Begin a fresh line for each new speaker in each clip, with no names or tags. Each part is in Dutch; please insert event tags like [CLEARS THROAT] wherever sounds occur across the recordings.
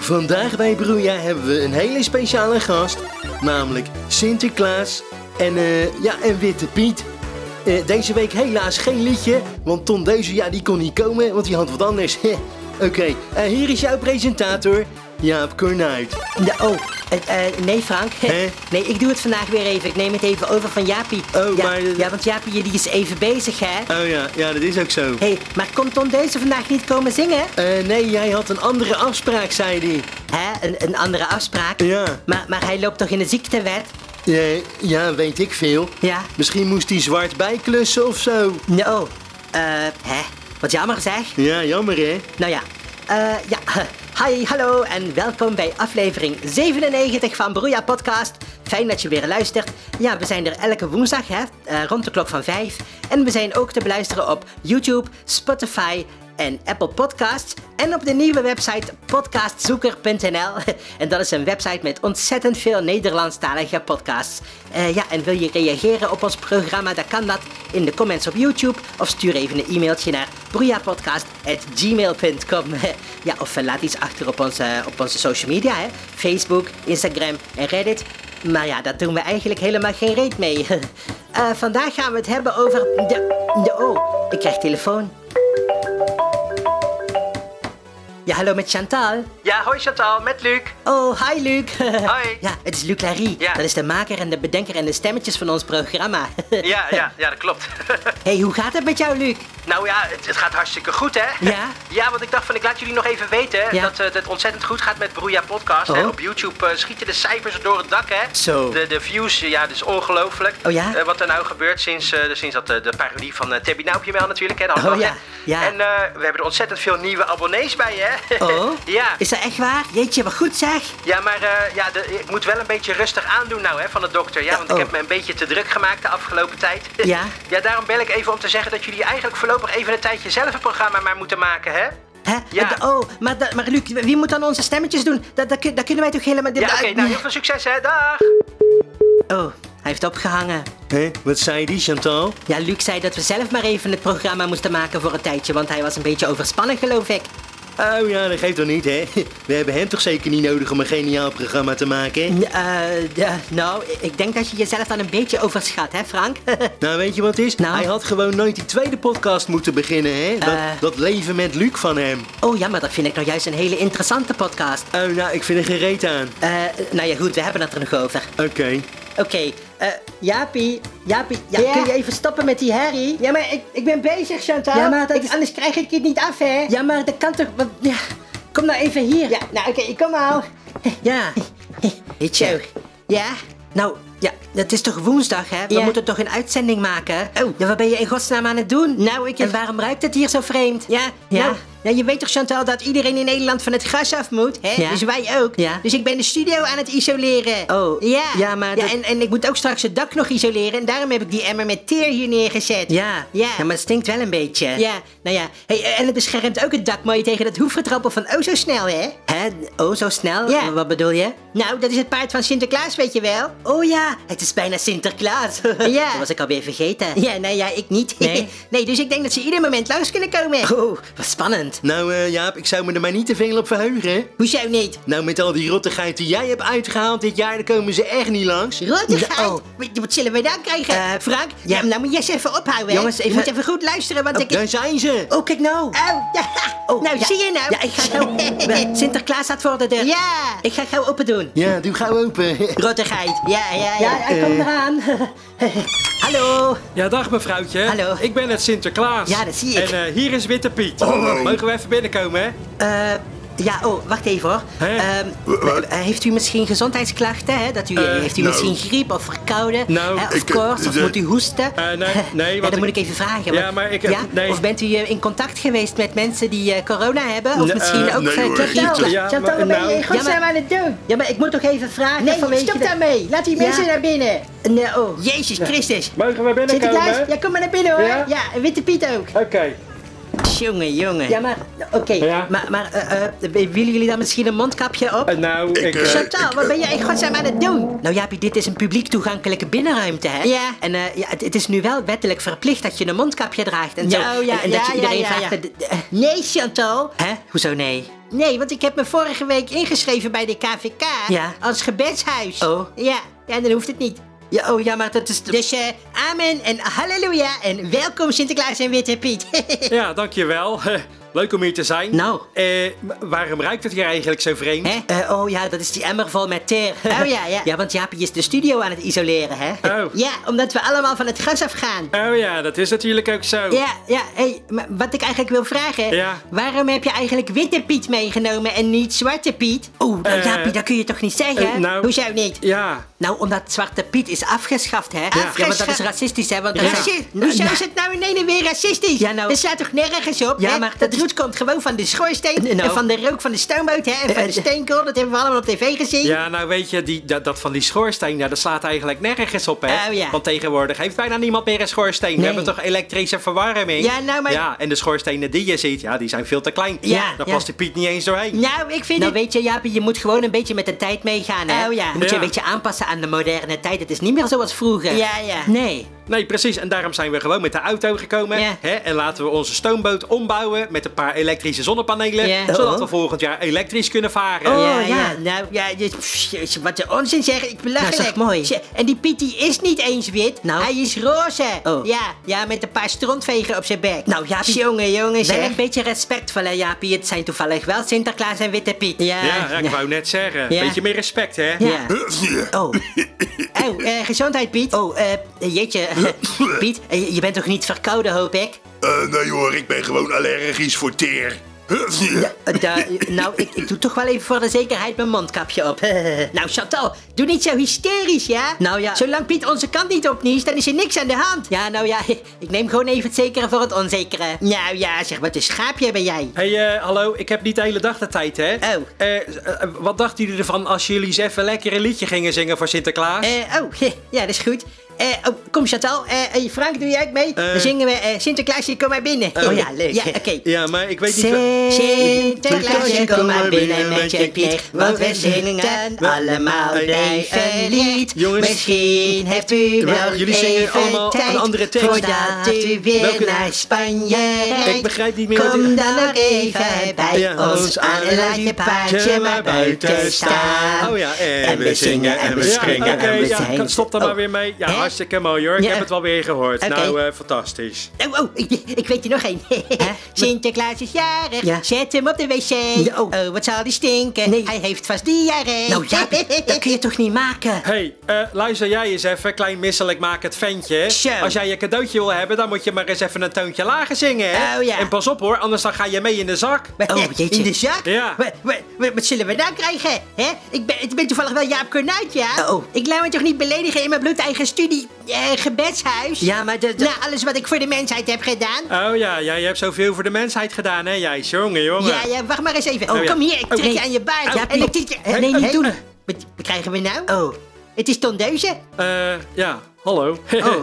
Vandaag bij Bruja hebben we een hele speciale gast, namelijk Sinterklaas en, eh, ja, en Witte Piet. Eh, deze week helaas geen liedje, want Ton Deuze ja, die kon niet komen, want die had wat anders. [LAUGHS] Oké, eh, hier is jouw presentator, Jaap Kornuit.
Ja, oh, het, eh, nee Frank. [LAUGHS]
Hè?
Nee, ik doe het vandaag weer even. Ik neem het even over van Jaapie.
Oh,
ja,
maar-
Ja, want Jaapie die is even bezig, hè?
Oh ja, ja dat is ook zo.
Hé, hey, maar komt Tom Deuze vandaag niet komen zingen?
Eh, nee, jij had een andere afspraak, zei hij.
Hè, een, een andere afspraak?
Ja.
Maar, maar hij loopt toch in de ziektewet?
Eh, ja, weet ik veel.
Ja.
Misschien moest hij zwart bijklussen of zo.
No. Eh, hè? Wat jammer zeg.
Ja, jammer hè.
Nou ja. Eh, ja. [LAUGHS] Hi, hallo en welkom bij aflevering 97 van Broeia Podcast. Fijn dat je weer luistert. Ja, we zijn er elke woensdag, hè, eh, rond de klok van 5. En we zijn ook te beluisteren op YouTube, Spotify en Apple Podcasts. En op de nieuwe website podcastzoeker.nl. [LAUGHS] En dat is een website met ontzettend veel Nederlandstalige podcasts. Eh, ja, en wil je reageren op ons programma, dan kan dat in de comments op YouTube. Of stuur even een e-mailtje naar broeiapodcast.gmail.com. [LAUGHS] Ja, of eh, laat iets achter op onze, op onze social media, hè. Facebook, Instagram en Reddit. Maar ja, daar doen we eigenlijk helemaal geen reet mee. [LAUGHS] Eh, vandaag gaan we het hebben over... De, de, oh, ik krijg telefoon. Ja, hallo met Chantal.
Ja, hoi Chantal, met Luc.
Oh, hi Luc. [LAUGHS]
Hoi.
Ja, het is Luc Larry.
Ja.
Dat is de maker en de bedenker en de stemmetjes van ons programma. [LAUGHS]
Ja, ja, ja, dat klopt.
hey, hoe gaat het met jou, Luc?
nou ja, het, het gaat hartstikke goed, hè?
Ja?
Ja, want ik dacht van, ik laat jullie nog even weten hè,
Ja.
dat eh, dat het ontzettend goed gaat met Broeia Podcast. Hè?
Oh.
Op YouTube eh, schieten de cijfers door het dak, hè?
Zo.
De, de views, eh, ja, dat is ongelooflijk.
Oh ja?
Eh, wat er nou gebeurt sinds, eh, sinds dat eh, de parodie van eh Tabby Naupje wel natuurlijk, hè? de
Oh
handbag,
ja,
hè.
ja.
En eh, we hebben er ontzettend veel nieuwe abonnees bij, hè?
Oh?
[LAUGHS] ja.
Is dat echt waar? Jeetje, wat goed zeg.
Ja, maar eh, ja, de- ik moet wel een beetje rustig aandoen nou hè, van de dokter. Ja,
Ja,
want
oh.
ik heb me een beetje te druk gemaakt de afgelopen tijd. [LAUGHS]
Ja.
ja, daarom bel ik even om te zeggen dat jullie eigenlijk voorlopig even een tijdje zelf een programma maar moeten maken, hè?
Hè?
Ja.
Eh, Oh, maar, dat- maar Luc, wie moet dan onze stemmetjes doen? Dat, dat, kun- dat kunnen wij toch helemaal...
Ja, oké, nou heel veel succes hè, dag!
Oh, hij heeft opgehangen.
Hè? Wat zei die, Chantal?
Ja, Luc zei dat we zelf maar even het programma moesten maken voor een tijdje, want hij was een beetje overspannen, geloof ik.
Oh ja, dat geeft toch niet, hè? [LAUGHS] We hebben hem toch zeker niet nodig om een geniaal programma te maken?
N- eh, ja, nou, ik- ik denk dat je jezelf dan een beetje overschat, hè Frank? [LAUGHS]
Nou, weet je wat het is?
Nou?
Hij had gewoon nooit die tweede podcast moeten beginnen, hè? Dat,
Eh.
dat leven met Luc van hem.
oh ja, maar dat vind ik nou juist een hele interessante podcast.
Oh, nou, ik vind er geen reet aan.
Eh, nou ja, goed, we hebben het er nog over.
Oké.
Oké, eh, Jaapie, Jaapie, ja,
Ja?
kun je even stoppen met die herrie?
Ja, maar ik, ik ben bezig, Chantal.
Ja, maar dat
Ik-
is-
Anders krijg ik het niet af, hè?
Ja, maar dat kan toch, wat, ja, kom nou even hier.
Ja, nou oké, ik kom al.
Ja. Zo.
Ja?
Nou, ja, het is toch woensdag, hè? We
Ja.
moeten toch een uitzending maken? Oh, ja, wat ben je in godsnaam aan het doen? Nou, ik... En waarom ruikt het hier zo vreemd?
Ja,
Ja.
Nou, nou, je weet toch, Chantal, dat iedereen in Nederland van het gas af moet, hè?
Ja.
Dus wij ook.
Ja.
Dus ik ben de studio aan het isoleren.
Oh,
Ja.
ja, maar dat-
en, en ik moet ook straks het dak nog isoleren. En daarom heb ik die emmer met teer hier neergezet.
Ja.
Ja.
maar het stinkt wel een beetje.
Ja, nou ja. Hey, en het beschermt ook het dak mooi tegen dat hoefgetrappel van oh zo snel, hè?
Hè? Oh, zo snel?
Ja.
Wat bedoel je?
Nou, dat is het paard van Sinterklaas, weet je wel.
Oh ja, het is bijna
[LAUGHS]
Sinterklaas.
Ja.
Dat was ik alweer vergeten.
Ja, nou ja, ik niet.
Nee?
[LAUGHS] nee, dus ik denk dat ze ieder moment langs kunnen komen.
Oh, wat spannend.
Nou, eh, Jaap, ik zou me er maar niet te veel op verheugen, hè?
Hoezo niet?
Nou, met al die rottigheid die jij hebt uitgehaald dit jaar, daar komen ze echt niet langs. Nou,
Rottigheid?
Oh.
Wat- Wat zullen we dan krijgen?
Eh,
Frank,
ja.
ja. nou moet je eens even ophouden. hè.
Jongens, even-
Je moet even goed luisteren, want ik...
Daar zijn ze!
Oh, kijk nou.
Oh, ja.
Oh,
nou,
ja.
zie je nou?
Ja, ik ga
[LAUGHS]
gauw... Wel, Sinterklaas staat voor de deur.
Ja.
Ik ga gauw open doen.
Ja, doe gauw open. [LAUGHS]
Rottigheid.
Ja, ja,
Ja,
ja.
hij komt
[LAUGHS]
eh.
eraan. Hallo.
Ja, dag mevrouwtje.
Hallo.
Ik ben het Sinterklaas.
Ja, dat zie ik.
En eh, hier is Witte Piet. Mogen we even binnenkomen, hè?
Eh, ja, oh, wacht even hoor.
Hè?
Ehm, eh, heeft u misschien gezondheidsklachten? Hè? Dat u,
Eh,
heeft u
nou.
misschien griep of verkouden?
Nou,
hè? Of
ik, eh,
koorts? Of
de-
moet u hoesten? [LAUGHS]
Eh, nee, nee,
ja,
want
dan
ik-
moet ik even vragen.
Ja,
want-
maar ik- nee.
Of bent u eh, in contact geweest met mensen die eh, corona hebben? Of misschien
eh,
ook
nee,
eh,
hoor,
griep?
niet, eh.
Ja,
Chantal,
maar-
wat ben
nou.
je in godsnaam
Ja, maar-
aan het doen?
Ja, maar ik moet toch even vragen
Nee,
vanwege...
stop
de-
daarmee. Laat die
Ja.
mensen naar binnen.
Nee, oh.
Jezus Christus.
Mogen we binnenkomen?
Sinterklaas, ja, kom maar naar binnen, hoor.
Ja?
Ja, en Witte Piet ook.
Oké.
Jongen, jongen.
Ja, maar, oké.
Ja.
Maar, maar eh, eh, willen jullie dan misschien een mondkapje op?
Eh, nou, ik... eh,
Chantal, wat ben jij in godsnaam aan het doen? Nou Jaapie, dit is een publiek toegankelijke binnenruimte, hè?
Ja.
En eh, ja, het, het is nu wel wettelijk verplicht dat je een mondkapje draagt en
Ja,
zo.
oh, ja,
en, en dat
ja,
je iedereen
ja, ja.
vraagt... eh, eh,
Nee, Chantal.
hè? Hoezo nee?
Nee, want ik heb me vorige week ingeschreven bij de KVK.
Ja.
Als gebedshuis.
Oh.
Ja, ja dan hoeft het niet.
Ja, oh ja, maar dat is...
Dus eh, amen en halleluja en welkom Sinterklaas en Witte Piet. [LAUGHS]
Ja, dankjewel. Eh, Leuk om hier te zijn.
Nou.
Eh, wa- waarom ruikt het hier eigenlijk zo vreemd?
Hè? Eh, oh ja, dat is die emmer vol met teer.
Oh, [LAUGHS] ja, ja.
Ja, want Jaapie is de studio aan het isoleren, hè?
Oh.
ja, omdat we allemaal van het gas afgaan.
oh ja, dat is natuurlijk ook zo.
Ja, ja, hey, maar wat ik eigenlijk wil vragen.
Ja.
Waarom heb je eigenlijk Witte Piet meegenomen en niet Zwarte Piet?
Oeh, nou
Eh,
Jaapie, dat kun je toch niet zeggen?
eh, nou-
Hoezo niet?
Ja.
Nou, omdat Zwarte Piet is afgeschaft, hè? Ja, want dat is
Afgeschaft.
racistisch, hè? Want
Ja.
Raci-
Nou,
Hoezo
nou,
is het nou in ene weer racistisch?
Ja, nou-
Dat staat toch nergens op?
Ja,
hè?
maar dat
dat
is-
roet komt gewoon van de schoorsteen
Eh, nou.
en van de rook van de stoomboot hè, en van
eh.
de steenkool. Dat hebben we allemaal op tv gezien.
Ja, nou weet je, die, dat, dat van die schoorsteen, ja, dat slaat eigenlijk nergens op, hè?
Oh, ja.
Want tegenwoordig heeft bijna niemand meer een schoorsteen. We
Nee.
hebben toch elektrische verwarming?
Ja, nou, maar-
Ja, en de schoorstenen die je ziet, ja, die zijn veel te klein.
Ja,
Daar
ja.
past die Piet niet eens doorheen.
Nou, ik vind
nou,
het...
weet je, Jaapie, je moet gewoon een beetje met de tijd meegaan, hè?
Oh, ja.
Je moet je
Ja.
een beetje aanpassen aan de moderne tijd. Het is niet meer zoals vroeger.
Ja, ja.
Nee.
Nee, precies. En daarom zijn we gewoon met de auto gekomen.
Ja.
Hè? En laten we onze stoomboot ombouwen met een paar elektrische zonnepanelen.
Ja.
Zodat
Oh.
we volgend jaar elektrisch kunnen varen.
Oh,
ja,
ja.
ja. nou, ja, je- pff, jezus, wat een onzin zeg, ik belachelijk.
Nou, is toch mooi?
Ze- En die Piet die is niet eens wit,
Nou.
hij is roze.
Oh.
Ja, ja, met een paar strontvegen op zijn bek.
Nou, Jaapie-
Jongen, jongen,
Wel
zeg.
een beetje respectvol, hè, Jaapie? Het zijn toevallig wel Sinterklaas en Witte Piet.
Ja.
Ja, ja, ik
Ja.
wou net zeggen.
Ja.
Beetje meer respect, hè?
Ja. Oh,
Oh, eh, gezondheid Piet.
oh, eh,
[LAUGHS]
jeetje. Piet, eh, je bent toch niet verkouden, hoop ik?
Eh, nee hoor, ik ben gewoon allergisch voor teer.
Eh, da- nou, ik, ik doe toch wel even voor de zekerheid mijn mondkapje op.
[LAUGHS] Nou, Chantal, doe niet zo hysterisch, ja?
Nou ja.
Zolang Piet onze kant niet opniest, dan is er niks aan de hand.
Ja, nou
[LAUGHS]
ja, ik neem gewoon even het zekere voor het onzekere.
Nou ja, zeg, wat een schaapje ben jij.
Hé, hey, eh, hallo, ik heb niet de hele dag de tijd, hè?
Oh.
Eh, eh, wat dachten jullie ervan als jullie eens even lekker een liedje gingen zingen voor Sinterklaas?
Eh, oh, [LAUGHS] heh, ja, dat is goed. Eh, oh, kom Chantal, eh, eh, Frank, doe jij ook mee?
Eh.
Dan zingen we eh, Sinterklaasje, kom maar binnen.
Oh ja, leuk.
[LAUGHS] Ja, oké.
Ja, maar ik weet niet... wa-
Sinterklaasje, kom maar binnen met je knecht, want we zingen allemaal blij een lied.
Jongens.
Misschien hebt u wel
Jullie zingen
even
allemaal
tijd
een andere tekst.
voordat u weer
Welke-
naar Spanje rijdt.
Ik begrijp niet meer wat
Kom
u-
dan nog even bij
Ja,
ons aan en laat je paardje maar buiten staan.
Oh ja, en, we zingen en we springen ja,
en we
ja,
zijn- Oh.
kan- Stop daar maar weer mee. Ja,
Hè?
hartstikke mooi hoor. Ik
Ja.
heb het wel weer gehoord.
Oké.
Nou, eh, fantastisch.
Oh, oh, ik, ik weet er nog
[LAUGHS]
één. [LAUGHS] Sinterklaas is jarig,
Ja.
zet hem op de wc.
Ja, oh.
wat zal die stinken?
Nee.
Hij heeft vast diarree.
Nou,
[LAUGHS]
Jaapie, dat kun je toch niet maken?
hey, eh, luister jij eens even, klein misselijk maak het ventje.
Zo.
Als jij je cadeautje wil hebben, dan moet je maar eens even een toontje lager zingen. hè?
Oh, ja.
En pas op hoor, anders dan ga je mee in de zak.
Oh, jeetje.
In de zak?
Ja.
Wat, wat, wat, wat zullen we nou krijgen? hè? Ik, ben, ik ben toevallig wel Jaap Kornuit, ja?
Oh.
Ik laat me toch niet beledigen in mijn bloedeigen studie eh, gebedshuis?
Ja, maar de- de-
Na alles wat ik voor de mensheid heb gedaan.
Oh ja, jij hebt zoveel voor de mensheid gedaan hè, jij. Jongen, jongen.
Ja, ja, wacht maar eens even.
Oh, ja.
Kom hier, ik trek
Oh,
je
nee.
aan je baard.
Oh,
en
nee.
ik trek je...
Nee, niet doen.
Wat, wat krijgen we nou?
Oh,
Het is tondeuze.
Eh, ja, hallo. [LAUGHS]
oh.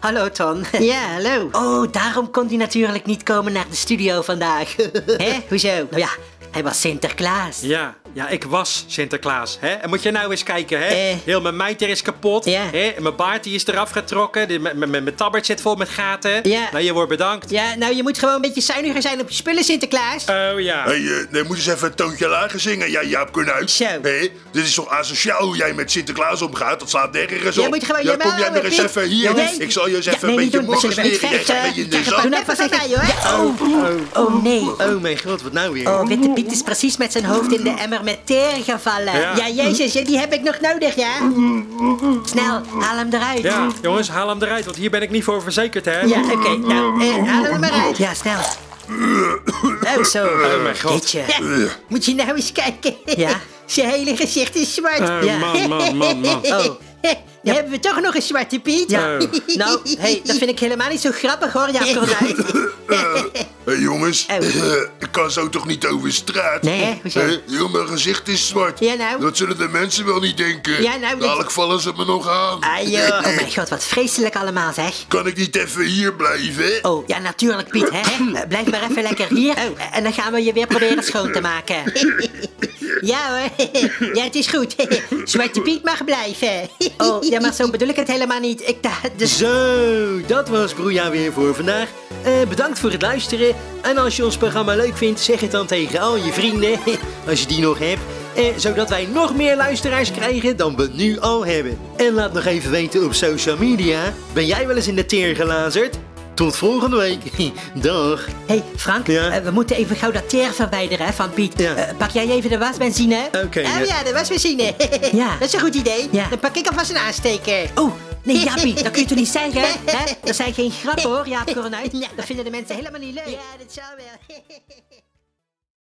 Hallo, Ton.
Ja, hallo.
Oh, daarom kon hij natuurlijk niet komen naar de studio vandaag.
Hè? Hoezo?
nou ja, hij was Sinterklaas.
Ja, ja, ik was Sinterklaas. Hè? En moet je nou eens kijken, hè?
Eh.
Heel mijn mijter is kapot.
Ja.
Hè? En Mijn baard die is eraf getrokken. Dit- Mijn, mijn, mijn tabbert zit vol met gaten.
Ja.
Nou, je wordt bedankt.
Ja, nou, je moet gewoon een beetje zuiniger zijn op je spullen, Sinterklaas.
Oh ja.
Hé, hey, eh, nee, moet eens even een toontje lager zingen, jij Jaap Kornuit.
Zo.
Hé, dit is toch asociaal hoe jij met Sinterklaas omgaat? Dat slaat nergens op.
Jij moet gewoon
Ja,
je
kom jij
mouwen,
maar eens
Piet.
even hier.
Jongens.
Ik zal je eens
Ja,
even
nee,
een
niet
beetje
doen. We
morgens
zullen
neer.
met vechten.
Een beetje in de
Kijk,
zak.
Doe nou even van mij, hoor.
Oh, oh.
Oh, nee.
Oh mijn god, wat nou weer?
Oh, Witte Piet is precies met zijn hoofd in de emmer met teer gevallen.
Ja.
Ja, jezus, ja, die heb ik nog nodig, ja?
Snel, haal hem eruit.
Ja, jongens, haal hem eruit, want hier ben ik niet voor verzekerd, hè?
Ja, oké. Nou, eh, haal hem maar uit.
Ja, snel.
Oh, zo.
Oh mijn god.
Jeetje.
Ja, moet je nou eens kijken.
Ja.
Zijn hele gezicht is zwart.
Oh, Eh, man, man, man, man.
Oh.
Dan hebben we toch nog een Zwarte Piet.
Ja.
Nou, hey, dat vind ik helemaal niet zo grappig hoor, ja, [LAUGHS] Kornuit.
Hé jongens, Eh,
Oh.
ik kan zo toch niet over straat?
Nee, hè? Hoezo?
Hè? Heel mijn gezicht is zwart.
Ja, nou.
Dat zullen de mensen wel niet denken.
Ja, nou, dat-
Dadelijk vallen ze me nog aan.
Ah, joh. Oh mijn god, wat vreselijk allemaal zeg.
[LAUGHS] Kan ik niet even hier blijven?
Oh, ja natuurlijk Piet, hè. [CLEARS THROAT] Eh, Blijf maar even lekker hier en dan gaan we je weer proberen schoon te maken. [LAUGHS]
Ja hoor, ja het is goed. Zwarte Piet mag blijven.
[LAUGHS] Oh, ja, maar zo bedoel ik het helemaal niet. Ik dacht, dus...
Zo, dat was Broeja weer voor vandaag. Eh, bedankt voor het luisteren. En als je ons programma leuk vindt, zeg het dan tegen al je vrienden, [LAUGHS] als je die nog hebt. Eh, zodat wij nog meer luisteraars krijgen dan we nu al hebben. En laat nog even weten op social media. Ben jij wel eens in de teer gelazerd? Tot volgende week. [LAUGHS] Dag.
Hé, hey, Frank,
Ja?
eh, we moeten even gauw dat teer verwijderen hè, van Piet.
Ja.
Eh, pak jij even de wasbenzine?
Oké.
Oh ja, dat was machine.
[LAUGHS] Ja.
Dat is een goed idee.
Ja.
Dan pak ik alvast een aansteker.
Oh, nee, Jaapie, dat kun je toch niet zeggen? [LAUGHS] Hè? Dat zijn geen grappen hoor, Jaap Kornuit.
Ja.
Dat vinden de mensen helemaal niet leuk.
Ja, dat zou wel.